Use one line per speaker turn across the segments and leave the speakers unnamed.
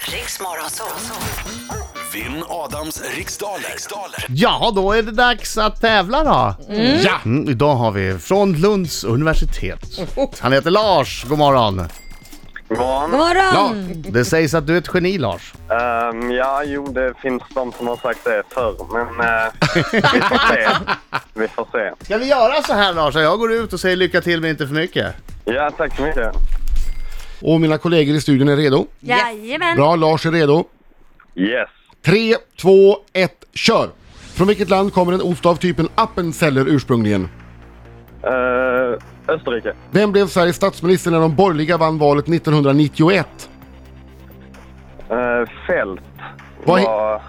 Riks Morgonzoo.
Vinn Adams riksdaler. riksdaler.
Jaha, då är det dags att tävla då.
Ja!
Mm, idag har vi från Lunds universitet. Han heter Lars, god morgon.
Van.
God
Ja,
morgon!
det sägs att du är ett geni Lars.
Ehm, ja, jo, det finns de som har sagt det förr, men eh, vi får se. Vi får se.
Ska vi göra så här Lars? Jag går ut och säger lycka till men inte för mycket.
Ja, tack så mycket.
Och mina kollegor i studion är redo.
Jajamän!
Bra, Lars är redo.
Yes.
3, 2, 1, kör! Från vilket land kommer en ost av typen Appenzeller ursprungligen?
Eh, Österrike.
Vem blev Sveriges statsminister när de borgerliga vann valet 1991?
Uh, fält.
Vad he-
var-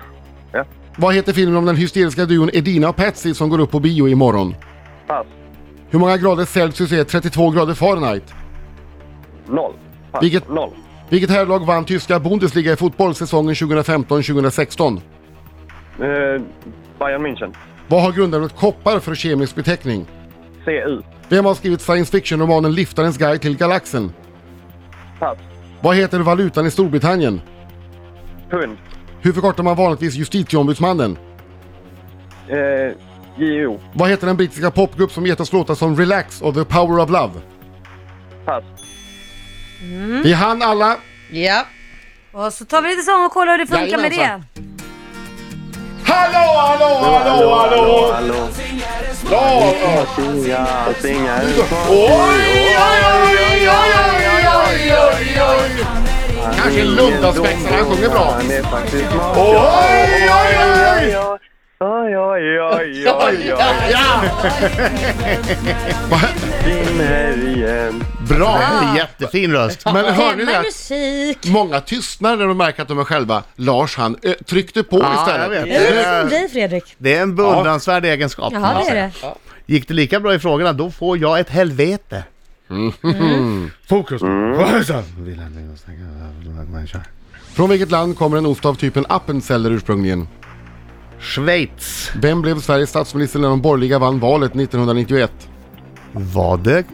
Ja,
Vad heter filmen om den hysteriska duon Edina och Patsy som går upp på bio imorgon?
pass.
Hur många grader Celsius är 32 grader Fahrenheit?
Noll. Pass.
Vilket-
Noll.
Vilket herrlag vann tyska Bundesliga i fotboll säsongen 2015-2016?
Eh, Bayern München.
Vad har grundämnet koppar för kemisk beteckning?
CU.
Vem har skrivit science fiction-romanen Liftarens guide till galaxen?
Pass.
Vad heter valutan i Storbritannien?
Pund.
Hur förkortar man vanligtvis justitieombudsmannen?
Uh, JO.
Vad heter den brittiska popgrupp som gett oss låtar som Relax och The Power of Love?
Pass.
Mm.
Vi hann alla!
Ja.
Och så tar vi lite sång och kollar hur det funkar med det.
Jajamensan. Hallå, hallå, hallå, hallå!
Hallå.
Lars!
Singa, singa.
Oj, oj, oj, oj, oj, oj, oj! Kanske Lundaspexarna, han sjunger bra.
Han är faktiskt
Oj, oj, oj!
Oj, oj, oj, oj, oj.
Ja!
Vinner igen.
Bra! Jättefin röst.
Men hör ni
Hemma
det?
musik.
Många tystnar när de märker att de är själva. Lars han ö, tryckte på
Ja, jag
istället.
vet.
Är
Det
Eh.
det som
är,
dig Fredrik?
det är en beundransvärd egenskap. kan
Ja
man
det är
säga.
det.
Gick det lika bra i frågorna, då får jag ett helvete. Fokus!
Från vilket land kommer en ost av typen Appenzeller ursprungligen?
Schweiz.
Vem blev Sveriges statsminister när de borgerliga vann valet 1991?
Var det,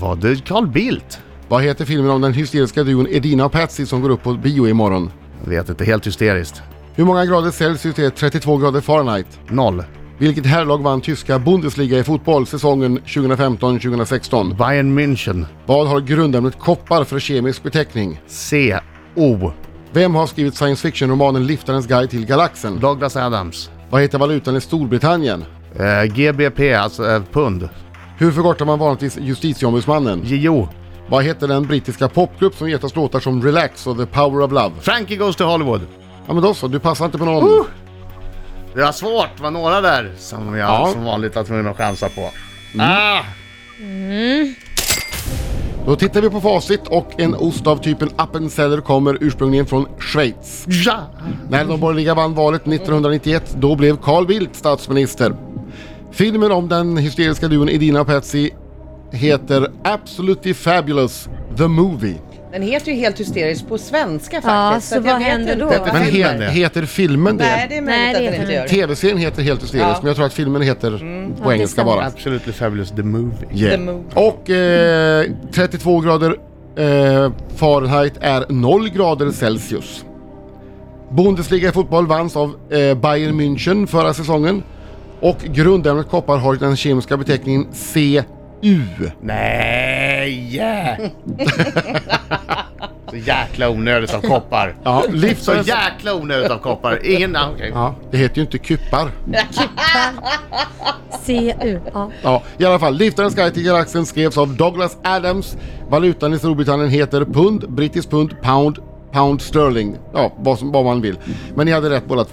var det Carl Bildt?
Vad heter filmen om den hysteriska duon Edina och Patsy som går upp på bio imorgon?
Jag vet inte, helt hysteriskt.
Hur många grader Celsius är 32 grader Fahrenheit?
Noll.
Vilket herrlag vann tyska Bundesliga i fotboll säsongen 2015-2016?
Bayern München.
Vad har grundämnet koppar för kemisk beteckning?
C.O.
Vem har skrivit science fiction-romanen Liftarens guide till galaxen?
Douglas Adams.
Vad heter valutan i Storbritannien?
Eh, GBP, alltså eh, pund.
Hur förkortar man vanligtvis justitieombudsmannen?
JO.
Vad heter den brittiska popgrupp som gett oss låtar som Relax och The Power of Love?
Frankie Goes to Hollywood.
Ja men då så, du passar inte på någon.
Det var svårt, det var några där som jag
Ja.
som vanligt var tvungen att chansa på. Ah!
Då tittar vi på facit och en ost av typen Appenzeller kommer ursprungligen från Schweiz.
Ja!
När de borgerliga vann valet 1991, då blev Carl Bildt statsminister. Filmen om den hysteriska duon Edina och Patsy heter Absolutely Fabulous The Movie.
Den heter ju helt hysterisk på svenska faktiskt.
Ja, så
att jag
vad
vet
händer
inte
då?
vad
Men
Men
filmen-
heter det?
Heter filmen
Nej,
det?
det är
Nej,
möjligt
det
att den
heter
inte gör det.
TV-serien heter helt hysterisk,
Ja. Mm.
men jag tror att filmen heter på
det
engelska
stämmer.
bara.
Absolutely Fabulous The Movie.
Yeah.
The moon.
Och eh, 32 grader eh, Fahrenheit är 0 grader Celsius. Bundesliga i fotboll vanns av eh, Bayern München förra säsongen. Och grundämnet koppar har den kemiska beteckningen CU.
Nej! yeah. Så jäkla onödigt av koppar.
Ja,
Så
Liftarens...
jäkla onödigt av koppar. Ingen... ah, Okej.
Ja, det heter ju inte kuppar.
CU. Ja.
Ja, i alla fall. Liftarens guide till galaxen skrevs av Douglas Adams. Valutan i Storbritannien heter pund, brittisk pund, pound, pound sterling. Ja, vad, som, vad man vill. Men ni hade rätt båda